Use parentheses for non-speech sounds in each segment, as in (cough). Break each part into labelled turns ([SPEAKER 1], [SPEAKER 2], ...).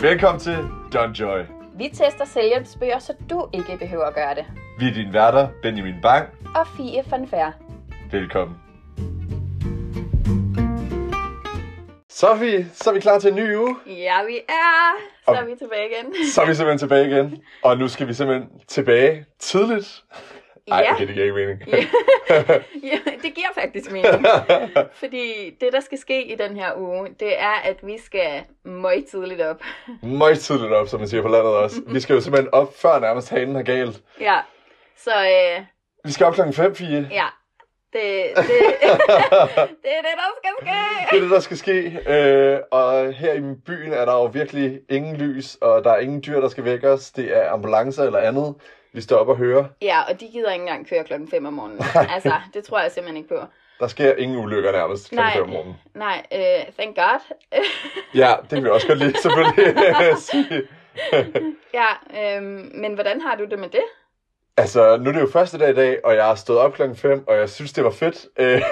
[SPEAKER 1] Velkommen til Don Joy.
[SPEAKER 2] Vi tester selvhjælpsbøger, så du ikke behøver at gøre det.
[SPEAKER 1] Vi er dine værter, Benjamin Bang.
[SPEAKER 2] Og Fie Fanfær.
[SPEAKER 1] Velkommen. Så er vi, så er vi klar til en ny uge.
[SPEAKER 2] Ja, vi er. Så er
[SPEAKER 1] Og-
[SPEAKER 2] vi tilbage igen.
[SPEAKER 1] Så er vi simpelthen tilbage igen. Og nu skal vi simpelthen tilbage tidligt. Ej,
[SPEAKER 2] Ja.
[SPEAKER 1] okay, det giver ikke mening.
[SPEAKER 2] ja, det giver faktisk mening. Fordi det, der skal ske i den her uge, det er, at vi skal møg tidligt op.
[SPEAKER 1] (laughs) Meget tidligt op, som man siger på landet også. Vi skal jo simpelthen op, før nærmest hanen har galt.
[SPEAKER 2] Ja, så øh,
[SPEAKER 1] Vi skal op klokken 5, Fie.
[SPEAKER 2] ja. Det, det, det er det, der skal
[SPEAKER 1] Det
[SPEAKER 2] ske.
[SPEAKER 1] er det, der skal ske. Øh, og her i byen er der jo virkelig ingen lys, og der er ingen dyr, der skal vække os. Det er ambulancer eller andet, vi står op og hører.
[SPEAKER 2] Ja, og de gider ikke engang køre klokken 5 om morgenen. Altså, det tror jeg simpelthen ikke på.
[SPEAKER 1] Der sker ingen ulykker nærmest kl.
[SPEAKER 2] Nej.
[SPEAKER 1] 5 om morgenen.
[SPEAKER 2] Nej, øh, thank god. (laughs)
[SPEAKER 1] Ja, det kan vi også godt lide, selvfølgelig. (laughs) sige.
[SPEAKER 2] ja, øh, men hvordan har du det med det?
[SPEAKER 1] altså, nu er det jo første dag i dag, og jeg har stået op klokken 5, og jeg synes, det var fedt. (laughs) Øh,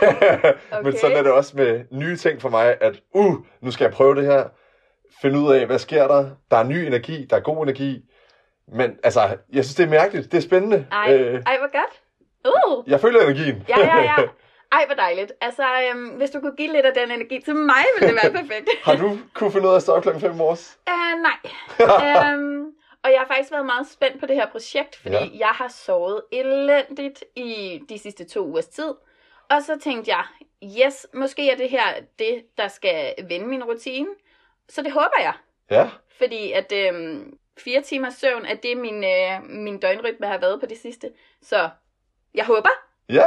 [SPEAKER 1] Men
[SPEAKER 2] Okay.
[SPEAKER 1] sådan er det også med nye ting for mig, at uh, nu skal jeg prøve det her. Finde ud af, hvad sker der? Der er ny energi, der er god energi. Men altså, jeg synes, det er mærkeligt. Det er spændende. Øh,
[SPEAKER 2] Ej, ej hvor godt. Uh,
[SPEAKER 1] Jeg føler energien.
[SPEAKER 2] ja, ja, ja. Ej, hvor dejligt. Altså, øhm, hvis du kunne give lidt af den energi til mig, ville det være perfekt.
[SPEAKER 1] (laughs) har du kunne finde ud af at stå op klokken 5 i morges?
[SPEAKER 2] uh, nej. øhm, og jeg har faktisk været meget spændt på det her projekt, fordi
[SPEAKER 1] Ja.
[SPEAKER 2] ja. jeg har sovet elendigt i de sidste to ugers tid. Og så tænkte jeg, yes, måske er det her det, der skal vende min rutine. Så det håber jeg.
[SPEAKER 1] Ja.
[SPEAKER 2] Fordi at øhm, fire timers søvn er det, min, øh, min døgnrytme har været på det sidste. Så jeg håber.
[SPEAKER 1] Ja.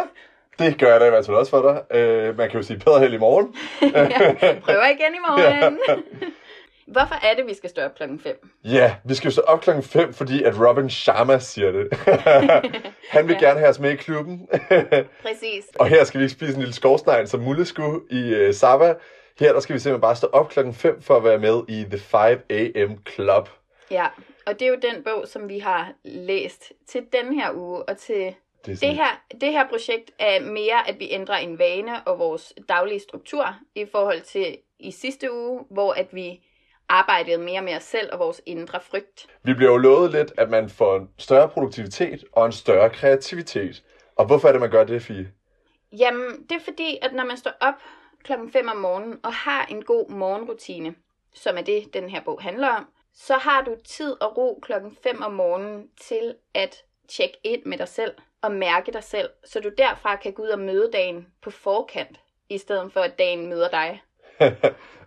[SPEAKER 1] Det gør jeg da i hvert fald også for dig. Øh, man kan jo sige bedre held i morgen.
[SPEAKER 2] Jeg (laughs) prøver igen i morgen. (laughs) Hvorfor er det, vi skal stå op klokken 5?
[SPEAKER 1] Ja, vi skal jo stå op klokken 5, fordi at Robin Sharma siger det. Han vil
[SPEAKER 2] Ja.
[SPEAKER 1] gerne have os med i klubben.
[SPEAKER 2] Præcis.
[SPEAKER 1] Og her skal vi ikke spise en lille skovsnegl som Mulle skulle i øh, Saba. Her der skal vi simpelthen bare stå op klokken 5 for at være med i The 5 AM Club.
[SPEAKER 2] Ja, og det er jo den bog, som vi har læst til den her uge, og til
[SPEAKER 1] Det er
[SPEAKER 2] det her, det her projekt er mere, at vi ændrer en vane og vores daglige struktur i forhold til i sidste uge, hvor at vi arbejdede mere med os selv og vores indre frygt.
[SPEAKER 1] Vi bliver jo lovet lidt, at man får en større produktivitet og en større kreativitet. Og hvorfor er det, man gør det, Fie? (laughs)
[SPEAKER 2] Jamen, det er fordi, at når man står op klokken 5 om morgenen og har en god morgenrutine, som er det, den her bog handler om, så har du tid og ro klokken 5 om morgenen til at tjekke ind med dig selv og mærke dig selv, så du derfra kan gå ud og møde dagen på forkant, i stedet for at dagen møder dig.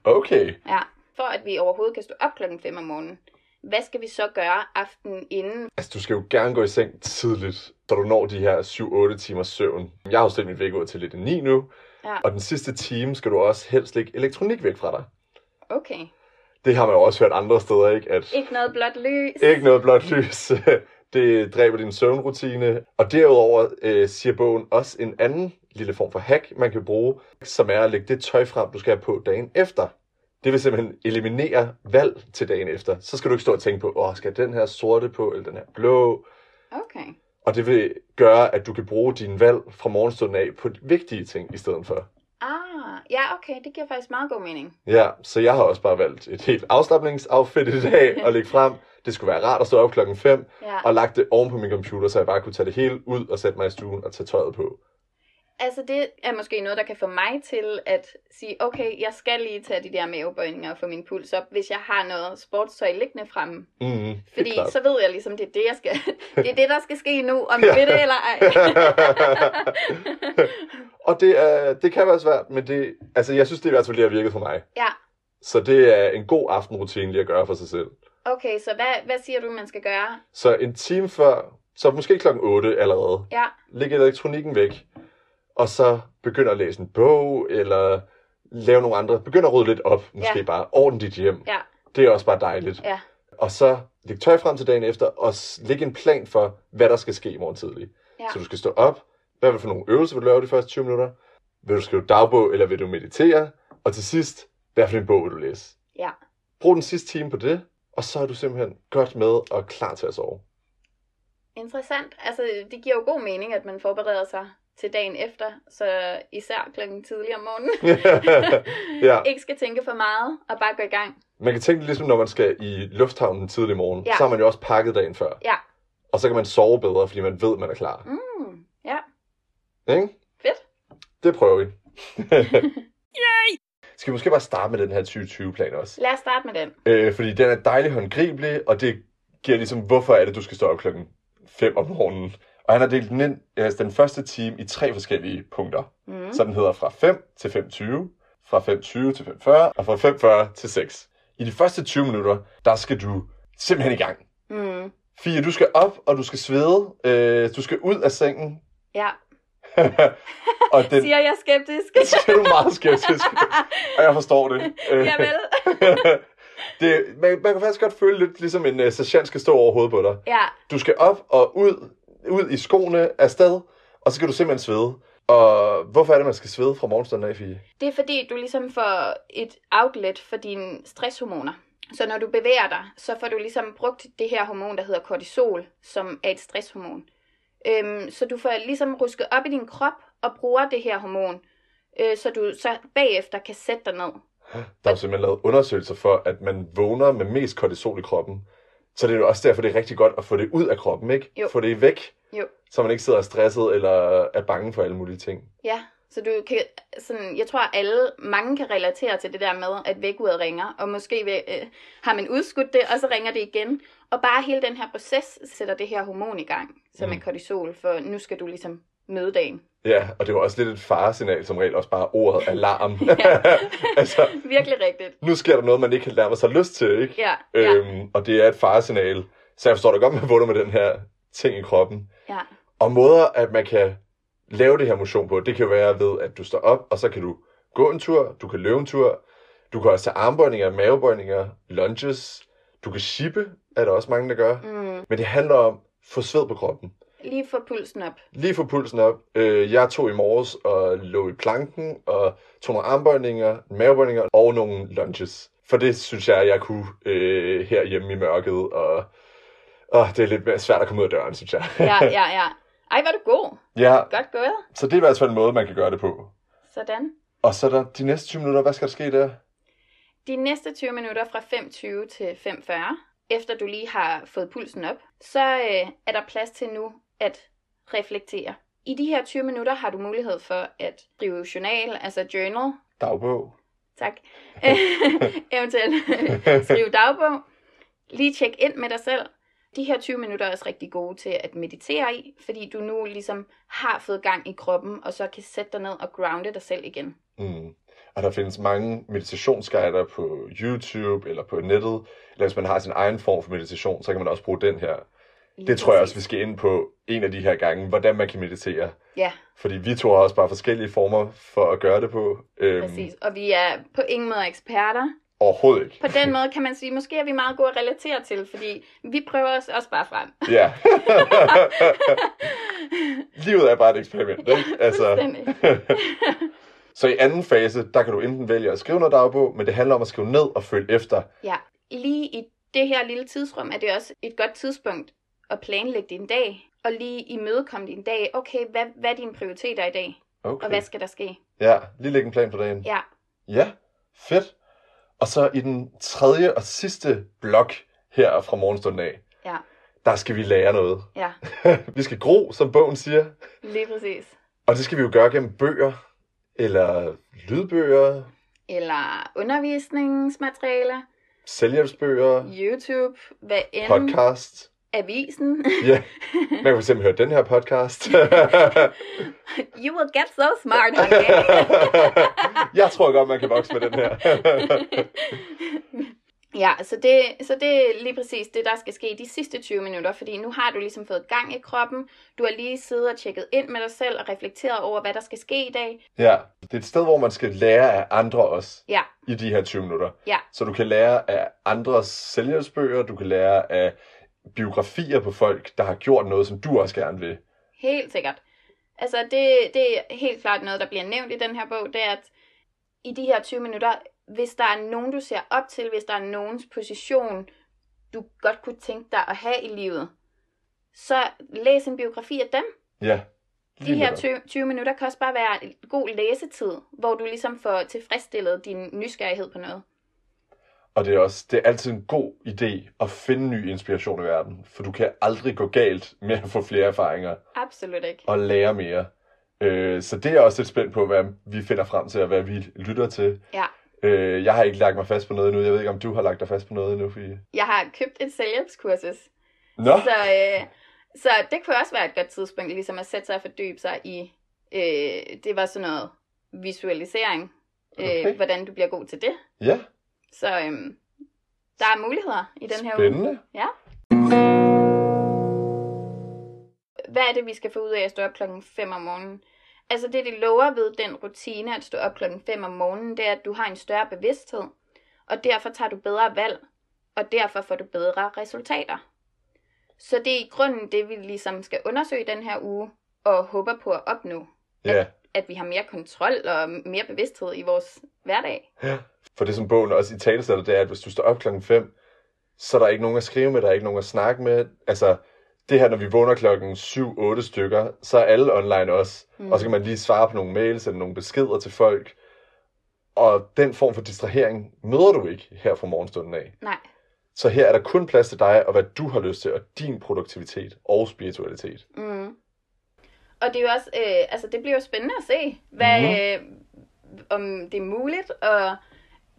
[SPEAKER 1] okay.
[SPEAKER 2] Ja. For at vi overhovedet kan stå op klokken 5 om morgenen, hvad skal vi så gøre aftenen inden?
[SPEAKER 1] Altså, du skal jo gerne gå i seng tidligt, så du når de her 7-8 timers søvn. Jeg har jo stillet mit vækord til lidt 9 nu.
[SPEAKER 2] Ja.
[SPEAKER 1] Og den sidste time skal du også helst lægge elektronik væk fra dig.
[SPEAKER 2] Okay.
[SPEAKER 1] Det har man jo også hørt andre steder, ikke? At
[SPEAKER 2] Ikke noget blåt lys.
[SPEAKER 1] Ikke noget blåt lys. (laughs) Det dræber din søvnrutine. Og derudover øh, siger bogen også en anden lille form for hack, man kan bruge, som er at lægge det tøj frem, du skal have på dagen efter. Det vil simpelthen eliminere valg til dagen efter. Så skal du ikke stå og tænke på, åh, skal jeg den her sorte på, eller den her blå?
[SPEAKER 2] Okay.
[SPEAKER 1] Og det vil gøre, at du kan bruge dine valg fra morgenstunden af på vigtige ting i stedet for.
[SPEAKER 2] Ah, ja okay, det giver faktisk meget god mening.
[SPEAKER 1] Ja, så jeg har også bare valgt et helt afslappningsaffit i
[SPEAKER 2] (laughs)
[SPEAKER 1] dag og lægge frem. Det skulle være rart at stå op klokken 5,
[SPEAKER 2] Ja.
[SPEAKER 1] og lagt det oven på min computer, så jeg bare kunne tage det hele ud og sætte mig i stuen og tage tøjet på.
[SPEAKER 2] Altså det er måske noget, der kan få mig til at sige, okay, jeg skal lige tage de der mavebøjninger og få min puls op, hvis jeg har noget sportstøj liggende fremme.
[SPEAKER 1] Mm,
[SPEAKER 2] Fordi
[SPEAKER 1] klart.
[SPEAKER 2] så ved jeg ligesom, det er det, jeg skal. det er det, der skal ske nu, om jeg ved det eller
[SPEAKER 1] (laughs)
[SPEAKER 2] ej.
[SPEAKER 1] (laughs) og det, er, det kan være svært, men det, altså, jeg synes, det er i hvert fald det, der har virket for mig.
[SPEAKER 2] ja,
[SPEAKER 1] Så det er en god aftenrutine lige at gøre for sig selv.
[SPEAKER 2] okay, så hvad, hvad siger du, man skal gøre?
[SPEAKER 1] Så en time før, så måske klokken 8 allerede,
[SPEAKER 2] Ja,
[SPEAKER 1] læg elektronikken væk, og så begynd at læse en bog, eller lave nogle andre. Begynd at rydde lidt op, måske
[SPEAKER 2] Ja.
[SPEAKER 1] bare. Ordne dit hjem.
[SPEAKER 2] Ja.
[SPEAKER 1] Det er også bare dejligt.
[SPEAKER 2] Ja.
[SPEAKER 1] Og så læg tøj frem til dagen efter, og s- læg en plan for, hvad der skal ske i morgen tidlig.
[SPEAKER 2] Ja.
[SPEAKER 1] Så du skal stå op. Hvad vil du for nogle øvelser, vil du lave de første 20 minutter? Vil du skrive dagbog, eller vil du meditere? Og til sidst, hvad for en bog vil du læse?
[SPEAKER 2] Ja.
[SPEAKER 1] Brug den sidste time på det, og så er du simpelthen godt med
[SPEAKER 2] (laughs)
[SPEAKER 1] og klar til at sove.
[SPEAKER 2] interessant. Altså det giver jo god mening, at man forbereder sig til dagen efter, så især klokken tidligere om morgenen.
[SPEAKER 1] (laughs) Ja.
[SPEAKER 2] (laughs) Ikke skal tænke for meget, og bare gå i gang.
[SPEAKER 1] Man kan tænke det ligesom, når man skal i lufthavnen tidlig morgen,
[SPEAKER 2] Ja.
[SPEAKER 1] så har man jo også pakket dagen før.
[SPEAKER 2] Ja.
[SPEAKER 1] Og så kan man sove bedre, fordi man ved, man er klar.
[SPEAKER 2] Mm, ja.
[SPEAKER 1] Ikke?
[SPEAKER 2] Mm. Fedt.
[SPEAKER 1] Det prøver
[SPEAKER 2] (laughs)
[SPEAKER 1] vi. Skal vi måske bare starte med den her 2020-plan også?
[SPEAKER 2] Lad os starte med den.
[SPEAKER 1] Øh, fordi den er dejlig håndgribelig, og det giver ligesom, hvorfor er det, du skal stå op klokken 5 om morgenen. Og han har delt den, ind, altså den første time i tre forskellige punkter.
[SPEAKER 2] Mm.
[SPEAKER 1] Mm. Så den hedder fra 5 til 5.20, fra 5.20 til 5.40 og fra 5.40 til 6. I de første 20 minutter, der skal du simpelthen i gang.
[SPEAKER 2] Mm.
[SPEAKER 1] Fie, du skal op, og du skal svede. Øh, du skal ud af sengen. (laughs)
[SPEAKER 2] Ja.
[SPEAKER 1] og den
[SPEAKER 2] Siger jeg skeptisk? (laughs)
[SPEAKER 1] (laughs) skal du meget skeptisk. og jeg forstår det. Øh,
[SPEAKER 2] Javel.
[SPEAKER 1] (laughs) det man, man kan faktisk godt føle lidt ligesom en uh, sergeant skal stå over hovedet på dig.
[SPEAKER 2] Ja.
[SPEAKER 1] Du skal op og ud, ud i skoene afsted, og så skal du simpelthen svede. Og hvorfor er det, man skal svede fra morgenstunden af, Fie?
[SPEAKER 2] Det er fordi, du ligesom får et outlet for dine stresshormoner. Så når du bevæger dig, så får du ligesom brugt det her hormon, der hedder kortisol, som er et stresshormon. Øhm, så du får ligesom rusket op i din krop og bruger det her hormon, øh, så du så bagefter kan sætte dig ned.
[SPEAKER 1] Der er jo simpelthen lavet undersøgelser for, at man vågner med mest kortisol i kroppen. Så det er jo også derfor, det er rigtig godt at få det ud af kroppen, ikke?
[SPEAKER 2] Jo.
[SPEAKER 1] Få det væk,
[SPEAKER 2] Jo.
[SPEAKER 1] så man ikke sidder stresset eller er bange for alle mulige ting.
[SPEAKER 2] Ja, så du kan, sådan, jeg tror alle, mange kan relatere til det der med, at vækkeuret ringer, og måske vil- øh, har man udskudt det, og så ringer det igen. Og bare hele den her proces sætter det her hormon i gang, som
[SPEAKER 1] Mm.
[SPEAKER 2] er kortisol, for nu skal du ligesom møde dagen.
[SPEAKER 1] Ja, og det er jo også lidt et faresignal som regel, også bare
[SPEAKER 2] (laughs)
[SPEAKER 1] ordet alarm.
[SPEAKER 2] Ja.
[SPEAKER 1] altså,
[SPEAKER 2] (laughs) Virkelig rigtigt.
[SPEAKER 1] (laughs) nu sker der noget, man ikke kan lade sig lyst til, ikke?
[SPEAKER 2] Ja, ja,
[SPEAKER 1] Øhm, og det er et faresignal. Så jeg forstår da godt, man vågner med den her ting i kroppen.
[SPEAKER 2] ja.
[SPEAKER 1] Og måder, at man kan lave det her motion på, det kan være ved, at du står op, og så kan du gå en tur, du kan løbe en tur, du kan også tage armbøjninger, mavebøjninger, lunges, du kan shippe, er der også mange, der gør.
[SPEAKER 2] Mm.
[SPEAKER 1] Men det handler om at få sved på kroppen.
[SPEAKER 2] Lige få pulsen op.
[SPEAKER 1] Lige få pulsen op. Øh, jeg tog i morges og lå i planken og tog nogle armbøjninger, mavebøjninger og nogle lunges. For det synes jeg, jeg kunne øh, herhjemme i mørket. Og, og det er lidt mere svært at komme ud af døren, synes jeg.
[SPEAKER 2] Ja, ja, ja. Ej, var du god.
[SPEAKER 1] (laughs) ja,
[SPEAKER 2] Godt gået.
[SPEAKER 1] så det er i hvert fald en måde, man kan gøre det på.
[SPEAKER 2] Sådan.
[SPEAKER 1] Og så er der de næste 20 minutter, hvad skal der ske der?
[SPEAKER 2] De næste 20 minutter fra 5.20 til 5.40, efter du lige har fået pulsen op, så øh, er der plads til nu at reflektere. I de her 20 minutter har du mulighed for at drive journal, altså journal,
[SPEAKER 1] Dagbog.
[SPEAKER 2] tak, (laughs) eventuelt
[SPEAKER 1] (laughs)
[SPEAKER 2] skrive dagbog, lige tjek ind med dig selv. De her 20 minutter er også rigtig gode til at meditere i, fordi du nu ligesom har fået gang i kroppen, og så kan sætte dig ned og grounde dig selv igen.
[SPEAKER 1] Mm. Og der findes mange meditationsguider på YouTube eller på nettet. Eller hvis man har sin egen form for meditation, så kan man også bruge den her.
[SPEAKER 2] Lige
[SPEAKER 1] Det tror jeg også, vi
[SPEAKER 2] præcis.
[SPEAKER 1] skal ind på en af de her gange, hvordan man kan meditere.
[SPEAKER 2] Ja.
[SPEAKER 1] Fordi vi to har også bare forskellige former for at gøre det på. Øhm,
[SPEAKER 2] Præcis, og vi er på ingen måde eksperter.
[SPEAKER 1] Overhovedet ikke.
[SPEAKER 2] På den måde kan man sige, måske er vi meget gode at relatere til, fordi vi prøver os også bare frem. (laughs)
[SPEAKER 1] Ja. (laughs) Livet er bare et eksperiment, ikke? Altså,
[SPEAKER 2] fuldstændig.
[SPEAKER 1] (laughs) så i anden fase, der kan du enten vælge at skrive noget dagbog, men det handler om at skrive ned og følge efter.
[SPEAKER 2] Ja, lige i det her lille tidsrum er det også et godt tidspunkt at planlægge din dag, og lige imødekomme din dag. Okay, hvad, hvad er dine prioriteter i dag, og
[SPEAKER 1] Okay.
[SPEAKER 2] hvad skal der ske?
[SPEAKER 1] Ja, lige lægge en plan for dagen.
[SPEAKER 2] Ja,
[SPEAKER 1] Ja, fedt. Og så i den tredje og sidste blok her fra morgenstunden af,
[SPEAKER 2] Ja.
[SPEAKER 1] der skal vi lære noget.
[SPEAKER 2] ja,
[SPEAKER 1] (laughs) vi skal gro, som bogen siger.
[SPEAKER 2] lige præcis.
[SPEAKER 1] Og det skal vi jo gøre gennem bøger, eller lydbøger,
[SPEAKER 2] Eller undervisningsmateriale,
[SPEAKER 1] selvhjælpsbøger,
[SPEAKER 2] YouTube, hvad end,
[SPEAKER 1] podcast.
[SPEAKER 2] avisen. (laughs)
[SPEAKER 1] Ja, man kan for eksempel høre den her podcast.
[SPEAKER 2] you will get so smart one day.
[SPEAKER 1] (laughs) jeg tror godt, man kan vokse med den
[SPEAKER 2] (laughs)
[SPEAKER 1] her.
[SPEAKER 2] Ja, så det, så det er lige præcis det, der skal ske de sidste 20 minutter, fordi nu har du ligesom fået gang i kroppen, du har lige siddet og tjekket ind med dig selv og reflekteret over, hvad der skal ske i dag.
[SPEAKER 1] ja, det er et sted, hvor man skal lære af andre også
[SPEAKER 2] Ja,
[SPEAKER 1] i de her 20 minutter.
[SPEAKER 2] Ja.
[SPEAKER 1] Så du kan lære af andres selvhjælpsbøger, du kan lære af biografier på folk, der har gjort noget, som du også gerne vil.
[SPEAKER 2] helt sikkert. Altså, det, det er helt klart noget, der bliver nævnt i den her bog, det er, at i de her 20 minutter, hvis der er nogen, du ser op til, hvis der er nogens position, du godt kunne tænke dig at have i livet, så læs en biografi af dem.
[SPEAKER 1] Ja,
[SPEAKER 2] De
[SPEAKER 1] Lige
[SPEAKER 2] her
[SPEAKER 1] netop.
[SPEAKER 2] 20, 20 minutter kan også bare være en god læsetid, hvor du ligesom får tilfredsstillet din nysgerrighed på noget.
[SPEAKER 1] Og det er også det er altid en god idé at finde ny inspiration i verden, for du kan aldrig gå galt med at få flere erfaringer
[SPEAKER 2] Absolut ikke.
[SPEAKER 1] og lære mere. Øh, så det er jeg også lidt spændt på, hvad vi finder frem til, og hvad vi lytter til.
[SPEAKER 2] Ja.
[SPEAKER 1] Øh, jeg har ikke lagt mig fast på noget endnu. Jeg ved ikke, om du har lagt dig fast på noget endnu, fordi...
[SPEAKER 2] Jeg har købt et selvhjælpskursus,
[SPEAKER 1] Nå,
[SPEAKER 2] så, øh, så det kunne også være et godt tidspunkt ligesom at sætte sig og fordybe sig i, øh, det var sådan noget visualisering, øh,
[SPEAKER 1] Okay.
[SPEAKER 2] hvordan du bliver god til det.
[SPEAKER 1] ja,
[SPEAKER 2] Så øh, der er muligheder i den her uge.
[SPEAKER 1] spændende.
[SPEAKER 2] hvad er det, vi skal få ud af at stå op klokken 5 om morgenen? Altså det, det lover ved den rutine at stå op klokken 5 om morgenen, det er, at du har en større bevidsthed, og derfor tager du bedre valg, og derfor får du bedre resultater. Så det er i grunden det, vi ligesom skal undersøge den her uge, og håber på at opnå,
[SPEAKER 1] Ja,
[SPEAKER 2] at vi har mere kontrol og mere bevidsthed i vores hverdag.
[SPEAKER 1] for det som bogen også i tale sætter, det er, at hvis du står op klokken 5, så er der ikke nogen at skrive med, der er ikke nogen at snakke med. Altså, det her, når vi vågner klokken 7-8 stykker, så er alle online også. Mm. Og så kan man lige svare på nogle mails eller nogle beskeder til folk. Og den form for distrahering møder du ikke her fra morgenstunden af.
[SPEAKER 2] Nej,
[SPEAKER 1] Så her er der kun plads til dig og hvad du har lyst til, og din produktivitet og spiritualitet.
[SPEAKER 2] Mm. Og det er jo også, øh, altså det bliver jo spændende at se, hvad, mm. øh, om det er muligt, og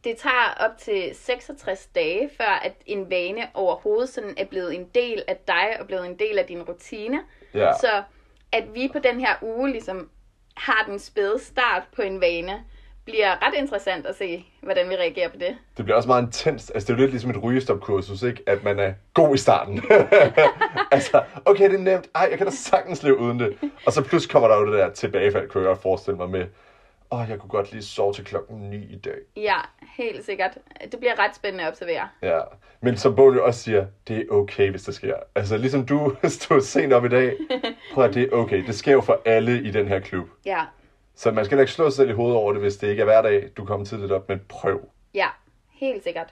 [SPEAKER 2] det tager op til 66 dage, før at en vane overhovedet sådan er blevet en del af dig, og blevet en del af din rutine.
[SPEAKER 1] Ja,
[SPEAKER 2] Ja. Så at vi på den her uge ligesom har den spæde start på en vane, bliver ret interessant at se, hvordan vi reagerer på det.
[SPEAKER 1] det bliver også meget intenst. Altså, det er jo lidt ligesom et rygestopkursus, ikke? At man er god i starten. (laughs) altså, okay, det er nemt. Ej, jeg kan da sagtens leve uden det. Og så pludselig kommer der jo det der tilbagefald, kunne jeg godt forestille mig med. Åh, oh, jeg kunne godt lige sove til klokken 9 i dag.
[SPEAKER 2] Ja, helt sikkert. Det bliver ret spændende at observere.
[SPEAKER 1] Ja, men som Bogen jo også siger, det er okay, hvis det sker. Altså ligesom du (laughs) stod sent op i dag, prøv at det er okay. Det sker jo for alle i den her klub.
[SPEAKER 2] Ja,
[SPEAKER 1] Så man skal da ikke slå sig selv i hovedet over det, hvis det ikke er hver dag, du kommer tidligt op, men prøv.
[SPEAKER 2] ja, helt sikkert.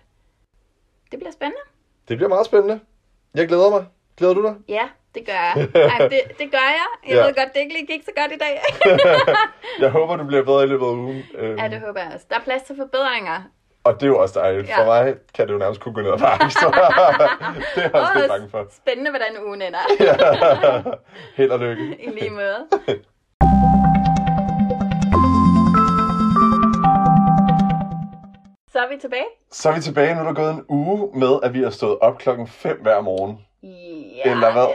[SPEAKER 2] Det bliver spændende.
[SPEAKER 1] Det bliver meget spændende. Jeg glæder mig. Glæder
[SPEAKER 2] (laughs)
[SPEAKER 1] du dig?
[SPEAKER 2] Ja, det gør jeg. Ej, det, det gør jeg. Jeg
[SPEAKER 1] Ja.
[SPEAKER 2] ja. ved godt, det ikke lige gik så godt i
[SPEAKER 1] (laughs)
[SPEAKER 2] dag.
[SPEAKER 1] Jeg håber, du bliver bedre i løbet af ugen. Øhm,
[SPEAKER 2] ja, det håber jeg også. Der er plads til forbedringer.
[SPEAKER 1] Og det er jo også dejligt.
[SPEAKER 2] Ja.
[SPEAKER 1] For mig kan det jo nærmest kun gå ned ad bakke. Så
[SPEAKER 2] (laughs)
[SPEAKER 1] det er jeg også lidt bange for.
[SPEAKER 2] spændende, hvordan ugen ender.
[SPEAKER 1] (laughs) Held og lykke.
[SPEAKER 2] (laughs) I lige måde. Så er vi tilbage.
[SPEAKER 1] Så er vi tilbage. Nu er der gået en uge med, at vi har stået op klokken 5 hver morgen.
[SPEAKER 2] Ja.
[SPEAKER 1] Eller hvad?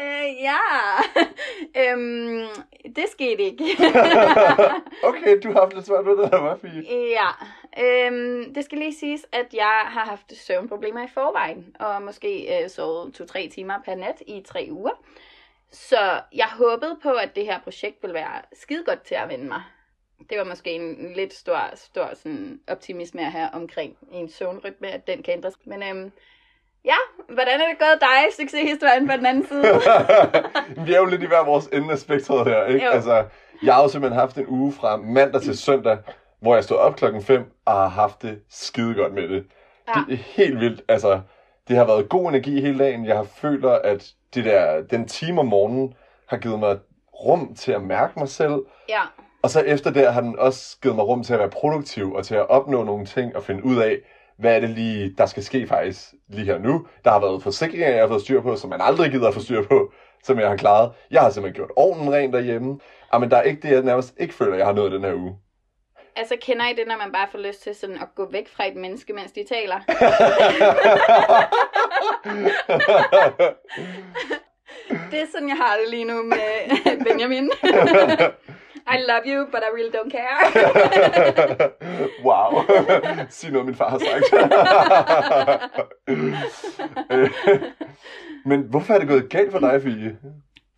[SPEAKER 2] Øh, ja. (laughs) øhm, det skete ikke.
[SPEAKER 1] (laughs) (laughs) okay, du har haft lidt svært ved det, der var fint.
[SPEAKER 2] ja. Øhm, det skal lige siges, at jeg har haft søvnproblemer i forvejen, og måske øh, sovet 2-3 timer per nat i tre uger. Så jeg håbede på, at det her projekt ville være skide godt til at vende mig. Det var måske en lidt stor, stor sådan, optimisme at have omkring en søvnrytme, at den kan ændres. Men øhm, ja, hvordan er det gået dig, succeshistorien på den anden side?
[SPEAKER 1] (laughs) vi er jo lidt i hver vores ende af spektret her, ikke?
[SPEAKER 2] Jo.
[SPEAKER 1] Altså, jeg har jo simpelthen haft en uge fra mandag til søndag, hvor jeg stod op klokken 5 og har haft det skide godt med det.
[SPEAKER 2] Ja.
[SPEAKER 1] Det er helt vildt. Altså, det har været god energi hele dagen. Jeg har føler, at det der, den time om morgenen har givet mig rum til at mærke mig selv.
[SPEAKER 2] ja,
[SPEAKER 1] Og så efter der har den også givet mig rum til at være produktiv og til at opnå nogle ting og finde ud af, hvad er det lige, der skal ske faktisk lige her nu. Der har været forsikringer, jeg har fået styr på, som man aldrig gider at få styr på, som jeg har klaret. Jeg har simpelthen gjort ovnen ren derhjemme. Ah, men der er ikke det, jeg nærmest ikke føler, jeg har nået den her uge. (laughs)
[SPEAKER 2] altså kender I det, når man bare får lyst til sådan at gå væk fra et menneske, mens de taler? Det er sådan, jeg har det lige nu med Benjamin. I love you, but I really don't care.
[SPEAKER 1] wow. (laughs) Sig noget, min far har sagt. (laughs) Øh, men hvorfor er det gået galt for dig, Fie?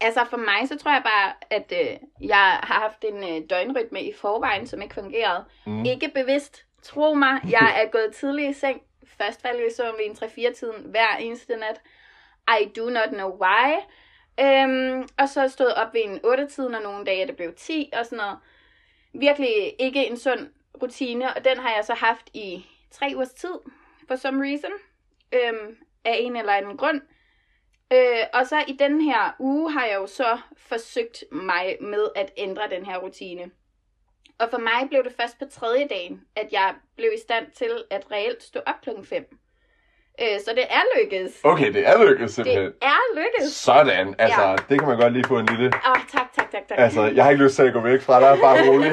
[SPEAKER 2] altså for mig, så tror jeg bare, at øh, jeg har haft en øh, døgnrytme i forvejen, som ikke fungerede.
[SPEAKER 1] Mm.
[SPEAKER 2] Mm. Ikke bevidst. Tro mig, jeg er gået tidlig i seng. Først faldt jeg i søvn ved en 3-4-tiden hver eneste nat. I do not know why. Øhm, og så stod op ved en 8-tiden, og nogle dage er det blev 10 og sådan noget. Virkelig ikke en sund rutine, og den har jeg så haft i tre ugers tid, for some reason. Øhm, af en eller anden grund. Øh, og så i den her uge har jeg jo så forsøgt mig med at ændre den her rutine. Og for mig blev det først på tredje dagen, at jeg blev i stand til at reelt stå op klokken 5. Øh, så det er lykkedes.
[SPEAKER 1] Okay, det er lykkedes simpelthen.
[SPEAKER 2] Det er lykkedes.
[SPEAKER 1] Sådan, altså,
[SPEAKER 2] Ja.
[SPEAKER 1] det kan man godt lige få en lille...
[SPEAKER 2] Åh, oh, tak, tak, tak, tak.
[SPEAKER 1] Altså, jeg har ikke lyst til at gå væk fra dig, bare
[SPEAKER 2] (laughs)
[SPEAKER 1] rolig.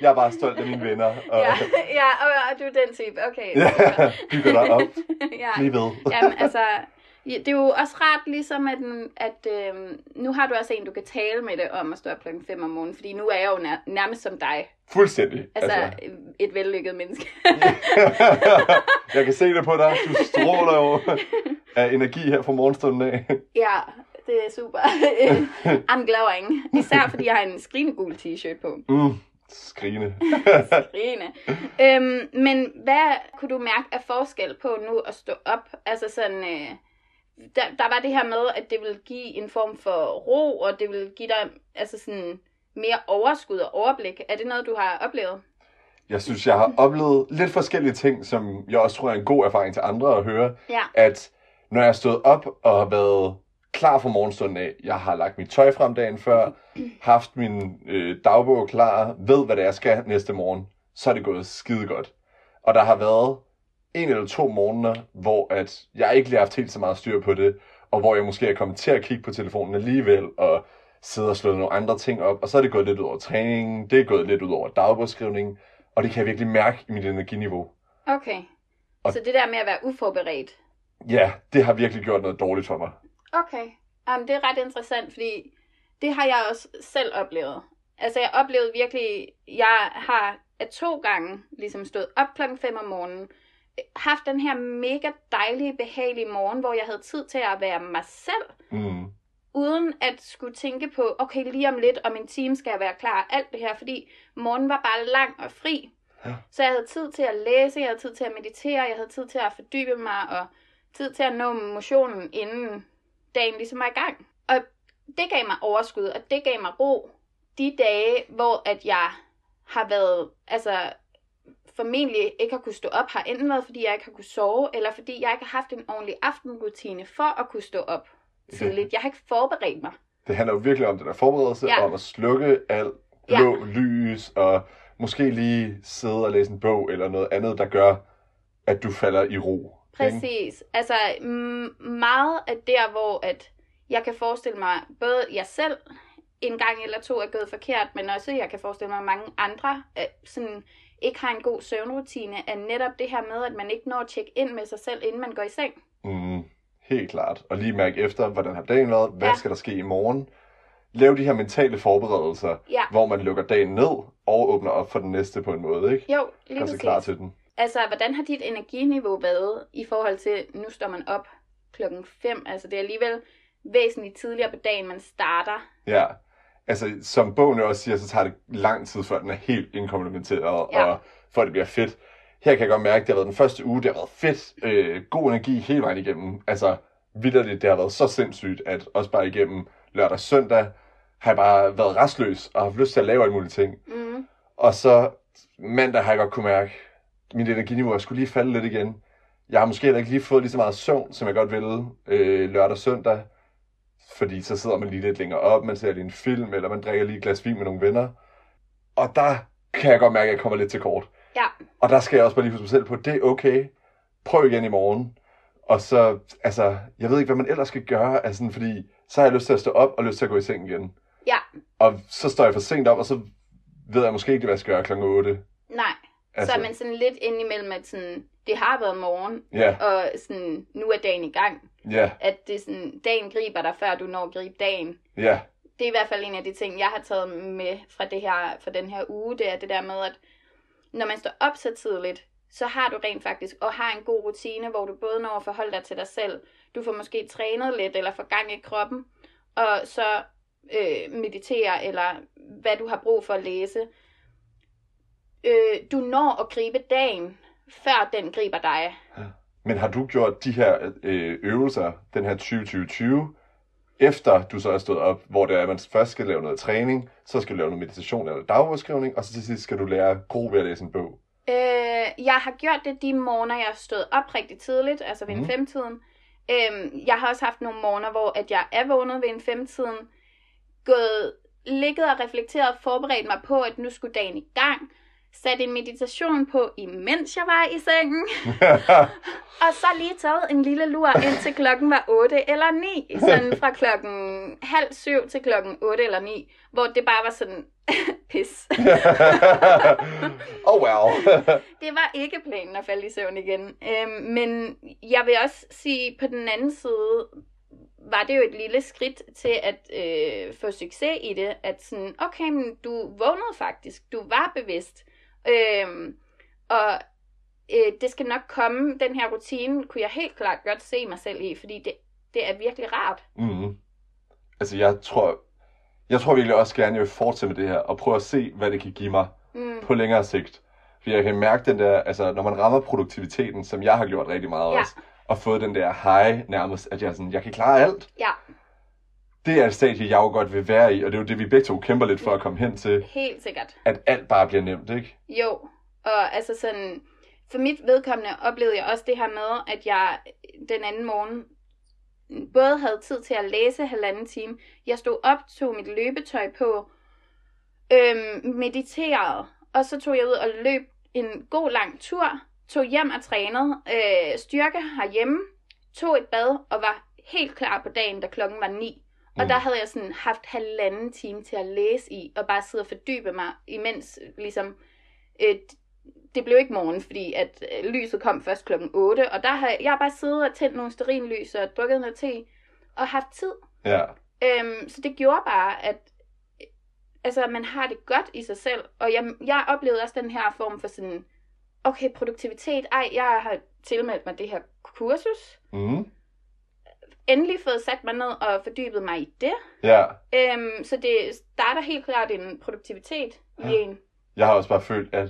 [SPEAKER 1] jeg er bare stolt af mine venner, og
[SPEAKER 2] Ja, (laughs) ja og, og du er den type.
[SPEAKER 1] (laughs)
[SPEAKER 2] Okay. (laughs)
[SPEAKER 1] Ja, bygger dig op.
[SPEAKER 2] ja.
[SPEAKER 1] blive ved.
[SPEAKER 2] Jamen, altså, ja, det er jo også rart ligesom, at, den- at øh, nu har du også en, du kan tale med det om at stå op klokken 5 om morgenen, fordi nu er jeg jo nær, nærmest som dig.
[SPEAKER 1] Fuldstændig.
[SPEAKER 2] Altså, altså, et vellykket menneske.
[SPEAKER 1] (laughs)
[SPEAKER 2] (laughs)
[SPEAKER 1] jeg kan se det på dig. Du stråler
[SPEAKER 2] (laughs)
[SPEAKER 1] jo af energi her fra morgenstunden af.
[SPEAKER 2] ja, det er super. (laughs) Øhm, I'm glowing. Især fordi jeg har en skrinegul t-shirt på.
[SPEAKER 1] Mm, skrigende.
[SPEAKER 2] (laughs) Rene. øhm, men hvad kunne du mærke af forskel på nu at stå op? Altså sådan, øh, der, der var det her med, at det ville give en form for ro, og det ville give dig altså sådan, mere overskud og overblik. Er det noget, du har oplevet?
[SPEAKER 1] Jeg synes, jeg har oplevet lidt forskellige ting, som jeg også tror er en god erfaring til andre at høre.
[SPEAKER 2] Ja.
[SPEAKER 1] At når jeg er stået op og har været klar for morgenstunden af, jeg har lagt mit tøj frem dagen før, haft min øh, dagbog klar, ved hvad det er, jeg skal næste morgen, så er det gået skide godt. Og der har været en eller to morgener, hvor at jeg ikke lige har haft helt så meget styr på det, og hvor jeg måske er kommet til at kigge på telefonen alligevel, og sidde og slå nogle andre ting op, og så er det gået lidt ud over træningen, det er gået lidt ud over dagbogsskrivningen, og det kan jeg virkelig mærke i mit energiniveau.
[SPEAKER 2] Okay.
[SPEAKER 1] Og-
[SPEAKER 2] Så det der med at være uforberedt.
[SPEAKER 1] Ja, det har virkelig gjort noget dårligt for mig.
[SPEAKER 2] Okay. Jamen, det er ret interessant, fordi det har jeg også selv oplevet. Altså, jeg oplevede virkelig, jeg har af to gange ligesom stået op klokken 5 om morgenen, øh, haft den her mega dejlige, behagelige morgen, hvor jeg havde tid til at være mig selv,
[SPEAKER 1] Mm.
[SPEAKER 2] uden at skulle tænke på, okay, lige om lidt, om en time skal jeg være klar, alt det her, fordi morgenen var bare lang og fri.
[SPEAKER 1] Ja.
[SPEAKER 2] Så jeg havde tid til at læse, jeg havde tid til at meditere, jeg havde tid til at fordybe mig, og tid til at nå motionen, inden dagen ligesom var i gang. Og det gav mig overskud, og det gav mig ro de dage, hvor at jeg har været, altså formentlig ikke har kunne stå op, har enten været, fordi jeg ikke har kunne sove, eller fordi jeg ikke har haft en ordentlig aftenrutine for at kunne stå op
[SPEAKER 1] Ja.
[SPEAKER 2] tidligt. Jeg har ikke forberedt mig.
[SPEAKER 1] Det handler jo virkelig om den der forberedelse, ja.
[SPEAKER 2] Ja.
[SPEAKER 1] om at slukke alt blå ja. lys, og måske lige sidde og læse en bog, eller noget andet, der gør, at du falder i ro. ikke?
[SPEAKER 2] Præcis. Altså mm, meget af der, hvor at jeg kan forestille mig, både jeg selv en gang eller to er gået forkert, men også jeg kan forestille mig, at mange andre øh, sådan, ikke har en god søvnrutine, er netop det her med, at man ikke når at tjekke ind med sig selv, inden man går i seng.
[SPEAKER 1] Mm, helt klart. Og lige mærke efter, hvordan har dagen været, hvad ja.
[SPEAKER 2] Ja.
[SPEAKER 1] skal der ske i morgen. Lav de her mentale forberedelser,
[SPEAKER 2] Ja,
[SPEAKER 1] hvor man lukker dagen ned og åbner op for den næste på en måde, ikke?
[SPEAKER 2] jo, lige
[SPEAKER 1] Gør sig klar
[SPEAKER 2] præcis.
[SPEAKER 1] til den.
[SPEAKER 2] Altså, hvordan har dit energiniveau været i forhold til, nu står man op klokken 5, altså det er alligevel væsentligt tidligere på dagen, man starter.
[SPEAKER 1] Ja. Altså, som bogen jo også siger, så tager det lang tid, før den er helt inkomplementeret, ja.
[SPEAKER 2] Ja.
[SPEAKER 1] og før det bliver fedt. Her kan jeg godt mærke, at det har været den første uge, det har været fedt, øh, god energi hele vejen igennem. Altså, vildt det har været så sindssygt, at også bare igennem lørdag og søndag, har jeg bare været restløs og haft lyst til at lave alle mulige ting.
[SPEAKER 2] Mm.
[SPEAKER 1] Og så mandag har jeg godt kunne mærke, at mit energiniveau er skulle lige falde lidt igen. Jeg har måske heller ikke lige fået lige så meget søvn, som jeg godt ville øh, lørdag og søndag. Fordi så sidder man lige lidt længere op, man ser lige en film, eller man drikker lige et glas vin med nogle venner. Og der kan jeg godt mærke, at jeg kommer lidt til kort.
[SPEAKER 2] Ja.
[SPEAKER 1] Og der skal jeg også bare lige huske mig selv på, det er okay. Prøv igen i morgen. Og så, altså, jeg ved ikke, hvad man ellers skal gøre, altså, sådan, fordi så har jeg lyst til at stå op og lyst til at gå i seng igen.
[SPEAKER 2] Ja.
[SPEAKER 1] Og så står jeg for sent op, og så ved jeg måske ikke, hvad jeg skal gøre klokken 8.
[SPEAKER 2] Nej, altså... så er man sådan lidt ind imellem, at sådan, det har været morgen,
[SPEAKER 1] Ja,
[SPEAKER 2] og sådan, nu er dagen i gang.
[SPEAKER 1] ja,
[SPEAKER 2] At det er sådan, dagen griber dig, før du når at gribe dagen.
[SPEAKER 1] ja.
[SPEAKER 2] Det er i hvert fald en af de ting, jeg har taget med fra, det her, fra den her uge, det er det der med, at når man står op så tidligt, så har du rent faktisk, og har en god rutine, hvor du både når at forholde dig til dig selv, du får måske trænet lidt, eller får gang i kroppen, og så øh, meditere, eller hvad du har brug for at læse. Øh, du når at gribe dagen, før den griber dig.
[SPEAKER 1] Men har du gjort de her øh, øvelser, den her 2020, efter du så er stået op, hvor det er, at man først skal lave noget træning, så skal du lave noget meditation eller dagbogskrivning, og så til sidst skal du lære god ved at læse en
[SPEAKER 2] (laughs)
[SPEAKER 1] bog.
[SPEAKER 2] Øh, jeg har gjort det de morgener, jeg stod op rigtig tidligt, altså ved
[SPEAKER 1] Mhm.
[SPEAKER 2] mm. femtiden, Øhm, jeg har også haft nogle morgener, hvor at jeg er vågnet ved en femtiden, gået, ligget og reflekteret og forberedt mig på, at nu skulle dagen i gang, sat en meditation på, imens jeg var i sengen, og så lige taget en lille lur, indtil klokken var 8 eller 9. Sådan fra klokken halv syv til klokken 8 eller 9, hvor det bare var sådan, (laughs) pis.
[SPEAKER 1] oh (laughs) wow.
[SPEAKER 2] Det var ikke planen at falde i søvn igen. Øhm, men jeg vil også sige, på den anden side, var det jo et lille skridt til at øh, få succes i det, at sådan, okay, men du vågnede faktisk, du var bevidst, øhm, og øh, det skal nok komme, den her rutine kunne jeg helt klart godt se mig selv i, fordi det, det er virkelig rart.
[SPEAKER 1] mm. Altså, jeg tror, jeg tror virkelig også gerne, jeg vil fortsætte med det her, og prøve at se, hvad det kan give mig
[SPEAKER 2] Mm.
[SPEAKER 1] på længere sigt. Fordi jeg kan mærke den der, altså når man rammer produktiviteten, som jeg har gjort rigtig meget
[SPEAKER 2] Ja.
[SPEAKER 1] også, og fået den der high nærmest, at jeg er sådan, jeg kan klare alt.
[SPEAKER 2] Ja,
[SPEAKER 1] Det er et stadie, jeg jo godt vil være i, og det er jo det, vi begge to kæmper lidt for at komme hen til,
[SPEAKER 2] helt sikkert.
[SPEAKER 1] at alt bare bliver nemt, ikke?
[SPEAKER 2] Jo, og altså sådan, for mit vedkommende oplevede jeg også det her med, at jeg den anden morgen både havde tid til at læse halvanden time, jeg stod op, tog mit løbetøj på, øhm, mediterede, og så tog jeg ud og løb en god lang tur, tog hjem og trænede øh, styrke herhjemme, tog et bad og var helt klar på dagen, da klokken var ni. Og
[SPEAKER 1] Mm.
[SPEAKER 2] der havde jeg sådan haft halvanden time til at læse i, og bare sidde og fordybe mig, imens øh, ligesom, øh, det blev ikke morgen, fordi at øh, lyset kom først klokken 8, og der har jeg har bare siddet og tændt nogle sterinlys og drukket noget te, og haft tid.
[SPEAKER 1] Ja.
[SPEAKER 2] Øhm, så det gjorde bare, at øh, altså, man har det godt i sig selv. Og jeg, jeg oplevede også den her form for sådan, okay, produktivitet, ej, jeg har tilmeldt mig det her kursus.
[SPEAKER 1] Mm.
[SPEAKER 2] Endelig fået sat mig ned og fordybet mig i det.
[SPEAKER 1] Ja.
[SPEAKER 2] Øhm, så det starter helt klart en produktivitet i
[SPEAKER 1] Ja.
[SPEAKER 2] en.
[SPEAKER 1] Jeg har også bare følt, at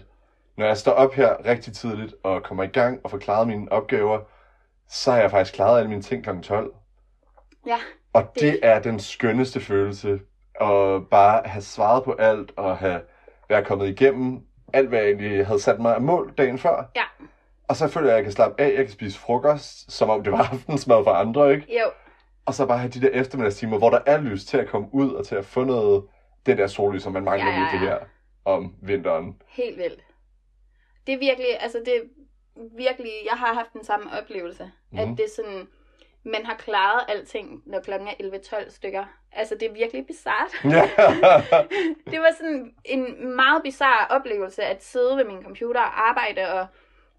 [SPEAKER 1] når jeg står op her rigtig tidligt og kommer i gang og får klaret mine opgaver, så har jeg faktisk klaret alle mine ting kl. 12.
[SPEAKER 2] Ja,
[SPEAKER 1] Og det,
[SPEAKER 2] Det-
[SPEAKER 1] det er den skønneste følelse. At bare have svaret på alt og have være kommet igennem alt, hvad jeg egentlig havde sat mig af mål dagen før.
[SPEAKER 2] Ja.
[SPEAKER 1] Og så føler jeg, at jeg kan slappe af, jeg kan spise frokost, som om det var (laughs) aftensmad for andre, ikke?
[SPEAKER 2] jo,
[SPEAKER 1] Og så bare have de der eftermiddagstimer, hvor der er lys til at komme ud og til at få noget, det der sollys, som man mangler
[SPEAKER 2] Ja, ja,
[SPEAKER 1] virkelig
[SPEAKER 2] ja.
[SPEAKER 1] her om vinteren.
[SPEAKER 2] helt vildt. Det er virkelig, altså det er virkelig, jeg har haft den samme oplevelse. Mm. At
[SPEAKER 1] Mhm.
[SPEAKER 2] det er sådan, man har klaret alting, når klokken er 11-12 stykker. Altså det er virkelig bizart.
[SPEAKER 1] Ja. (laughs)
[SPEAKER 2] det var sådan en meget bizarre oplevelse at sidde ved min computer og arbejde og,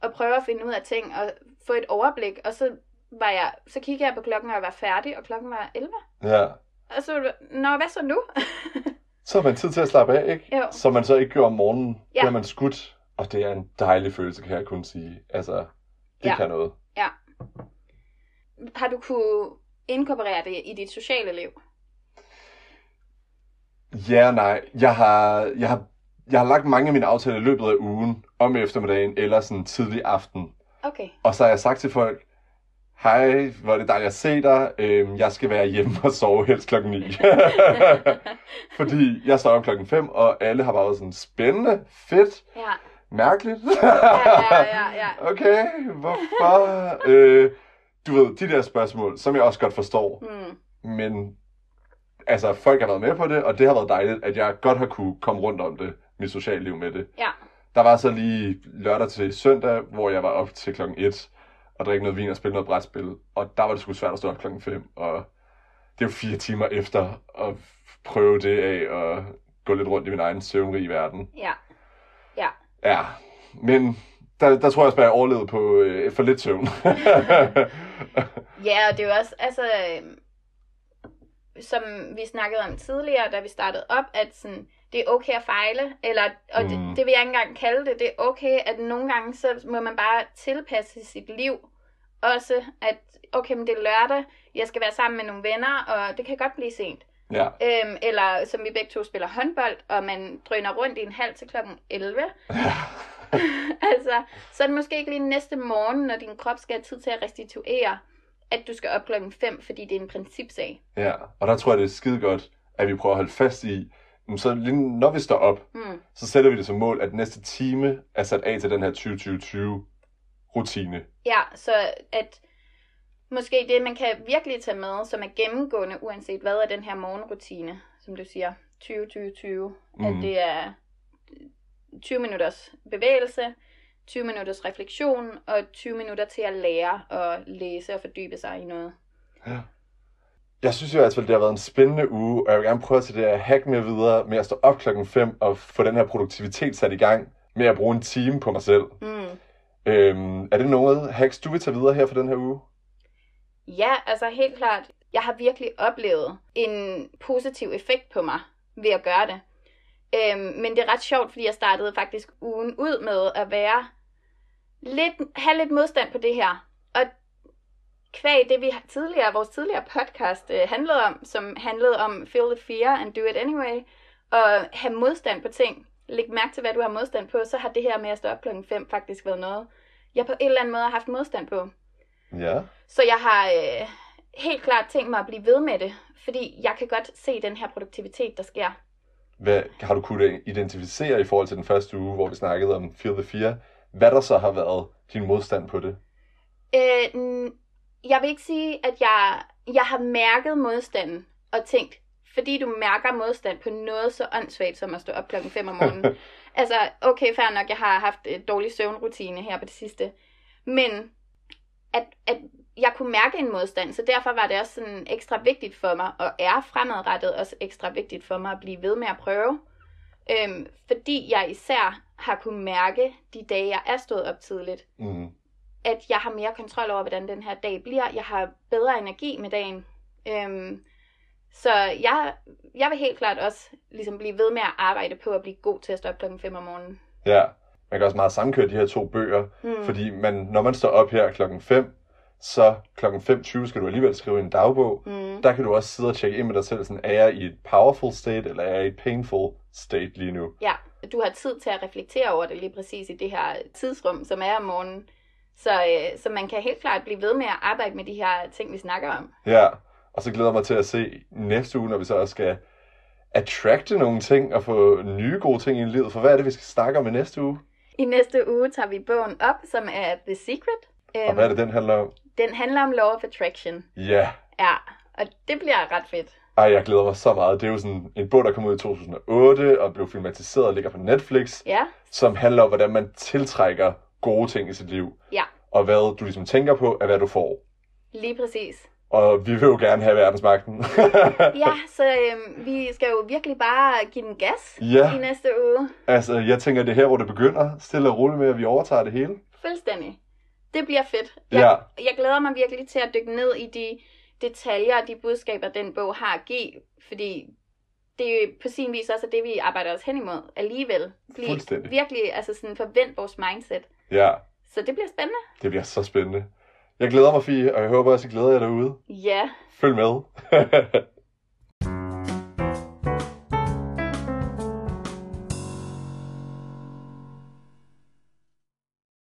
[SPEAKER 2] og prøve at finde ud af ting og få et overblik. Og så var jeg, så kiggede jeg på klokken og jeg var færdig, og klokken var 11.
[SPEAKER 1] ja.
[SPEAKER 2] Og så, var det- nå, hvad så nu? (laughs)
[SPEAKER 1] Så har man tid til at slappe af, ikke?
[SPEAKER 2] Jo.
[SPEAKER 1] Som man så ikke gjorde om morgenen. Ja. Det
[SPEAKER 2] Ja.
[SPEAKER 1] har man skudt, og det er en dejlig følelse, kan jeg kun sige. Altså, det ja.
[SPEAKER 2] Ja.
[SPEAKER 1] kan noget.
[SPEAKER 2] har du kunne inkorporere det i dit sociale liv?
[SPEAKER 1] Ja og nej. Jeg har, jeg har, jeg har lagt mange af mine aftaler i løbet af ugen, om eftermiddagen eller sådan tidlig aften.
[SPEAKER 2] Okay.
[SPEAKER 1] Og så har jeg sagt til folk, hej, hvor er det dejligt at se dig. Øhm, jeg skal være hjemme og sove helst klokken 9. (laughs) Fordi jeg står op klokken 5, og alle har bare været sådan spændende, fedt,
[SPEAKER 2] ja.
[SPEAKER 1] mærkeligt.
[SPEAKER 2] ja, ja, ja.
[SPEAKER 1] Okay, hvorfor? øh, du ved, de der spørgsmål, som jeg også godt forstår,
[SPEAKER 2] Mm.
[SPEAKER 1] men altså, folk har været med på det, og det har været dejligt, at jeg godt har kunne komme rundt om det, mit sociale liv med det.
[SPEAKER 2] Ja.
[SPEAKER 1] Der var så lige lørdag til søndag, hvor jeg var op til klokken 1 og drikke noget vin og spille noget brætspil, og der var det sgu svært at stå op klokken 5, og det var fire timer efter at prøve det af og gå lidt rundt i min egen søvnrige verden.
[SPEAKER 2] Ja.
[SPEAKER 1] Ja, men der, der tror jeg også, at jeg overlevede på øh, for lidt søvn. (laughs)
[SPEAKER 2] Ja, og det er jo også, altså, øh, som vi snakkede om tidligere, da vi startede op, at sådan, det er okay at fejle, eller, og mm.
[SPEAKER 1] Mm.
[SPEAKER 2] det, det vil jeg ikke engang kalde det, det er okay, at nogle gange, så må man bare tilpasse sit liv, også at, okay, men det er lørdag, jeg skal være sammen med nogle venner, og det kan godt blive sent.
[SPEAKER 1] ja,
[SPEAKER 2] Øhm, eller som vi begge to spiller håndbold, og man drøner rundt i en halv til klokken 11. (laughs) altså, så er det måske ikke lige næste morgen, når din krop skal have tid til at restituere, at du skal op klokken 5, fordi det er en principsag.
[SPEAKER 1] ja. Og der tror jeg, det er skide godt, at vi prøver at holde fast i, jamen, så lige når vi står op,
[SPEAKER 2] Mm.
[SPEAKER 1] så sætter vi det som mål, at næste time er sat af til den her 20-20-20 rutine.
[SPEAKER 2] Ja, så at Måske det, man kan virkelig tage med, som er gennemgående, uanset hvad er den her morgenrutine, som du siger, 20-20-20, mm. at
[SPEAKER 1] Mhm.
[SPEAKER 2] det er 20 minutters bevægelse, 20 minutters refleksion og 20 minutter til at lære og læse og fordybe sig i noget.
[SPEAKER 1] Jeg synes i hvert fald, det har været en spændende uge, og jeg vil gerne prøve at tage det her hack med videre med at stå op klokken 5 og få den her produktivitet sat i gang med at bruge en time på mig selv.
[SPEAKER 2] Mm.
[SPEAKER 1] Øhm, er det noget hacks, du vil tage videre her for den her uge?
[SPEAKER 2] Ja, altså helt klart. Jeg har virkelig oplevet en positiv effekt på mig ved at gøre det. Øhm, men det er ret sjovt, fordi jeg startede faktisk ugen ud med at være lidt, have lidt modstand på det her. Og kvæg det, vi har tidligere, vores tidligere podcast øh, handlede om, som handlede om feel the fear and do it anyway, og have modstand på ting. Læg mærke til, hvad du har modstand på, så har det her med at stå op klokken 5 faktisk været noget, jeg på en eller anden måde har haft modstand på.
[SPEAKER 1] Ja.
[SPEAKER 2] Så jeg har øh, helt klart tænkt mig at blive ved med det, fordi jeg kan godt se den her produktivitet, der sker.
[SPEAKER 1] Hvad har du kunnet identificere i forhold til den første uge, hvor vi snakkede om Feel the Fear? Hvad der så har været din modstand på det?
[SPEAKER 2] Øh, mm, jeg vil ikke sige, at jeg, jeg har mærket modstanden og tænkt, fordi du mærker modstand på noget så åndssvagt som at stå op klokken 5 om morgenen. altså, okay, fair nok, jeg har haft et dårlig søvnrutine her på det sidste. Men at, at jeg kunne mærke en modstand, så derfor var det også sådan ekstra vigtigt for mig, og er fremadrettet også ekstra vigtigt for mig at blive ved med at prøve. Øhm, fordi jeg især har kunne mærke de dage, jeg er stået op tidligt,
[SPEAKER 1] (laughs) Mm.
[SPEAKER 2] at jeg har mere kontrol over, hvordan den her dag bliver. Jeg har bedre energi med dagen. Øhm, så jeg, jeg vil helt klart også ligesom blive ved med at arbejde på at blive god til at stå op klokken 5 om morgenen.
[SPEAKER 1] Ja. Man kan også meget sammenkøre de her to bøger,
[SPEAKER 2] Mm.
[SPEAKER 1] Fordi man, når man står op her klokken 5, så klokken 5.20 skal du alligevel skrive en dagbog.
[SPEAKER 2] Mm.
[SPEAKER 1] Der kan du også sidde og tjekke ind med dig selv, sådan, er jeg i et powerful state, eller er jeg i et painful state lige nu?
[SPEAKER 2] Ja, du har tid til at reflektere over det lige præcis i det her tidsrum, som er om morgenen. Så, øh, så man kan helt klart blive ved med at arbejde med de her ting, vi snakker om.
[SPEAKER 1] Ja, og så glæder jeg mig til at se næste uge, når vi så også skal attracte nogle ting og få nye gode ting i livet. For hvad er det, vi skal snakke om i næste uge?
[SPEAKER 2] I næste uge tager vi bogen op, som er The Secret. Øhm,
[SPEAKER 1] Og hvad er det, den handler om?
[SPEAKER 2] Den handler om Law of Attraction.
[SPEAKER 1] Ja,
[SPEAKER 2] Ja, og det bliver ret fedt.
[SPEAKER 1] ej, jeg glæder mig så meget. Det er jo sådan en bog, der kom ud i 2008 og blev filmatiseret og ligger på Netflix.
[SPEAKER 2] Ja,
[SPEAKER 1] som handler om, hvordan man tiltrækker gode ting i sit liv.
[SPEAKER 2] Ja.
[SPEAKER 1] Og hvad du ligesom tænker på, er hvad du får.
[SPEAKER 2] lige præcis.
[SPEAKER 1] Og vi vil jo gerne have verdensmagten.
[SPEAKER 2] (laughs) Ja, så øhm, vi skal jo virkelig bare give den gas i
[SPEAKER 1] (laughs) ja,
[SPEAKER 2] næste uge.
[SPEAKER 1] altså jeg tænker, det er her, hvor det begynder. Stille og roligt med, at vi overtager det hele.
[SPEAKER 2] Fuldstændig. Det bliver fedt.
[SPEAKER 1] Ja.
[SPEAKER 2] Jeg, jeg glæder mig virkelig til at dykke ned i de detaljer og de budskaber, den bog har at give, fordi det er jo på sin vis også er det, vi arbejder os hen imod alligevel. Fordi
[SPEAKER 1] Fuldstændig.
[SPEAKER 2] Virkelig, altså sådan forvent vores mindset.
[SPEAKER 1] Ja,
[SPEAKER 2] Så det bliver spændende.
[SPEAKER 1] det bliver så spændende. Jeg glæder mig, Fie, og jeg håber også, I glæder jer derude.
[SPEAKER 2] Ja.
[SPEAKER 1] Følg med. (laughs)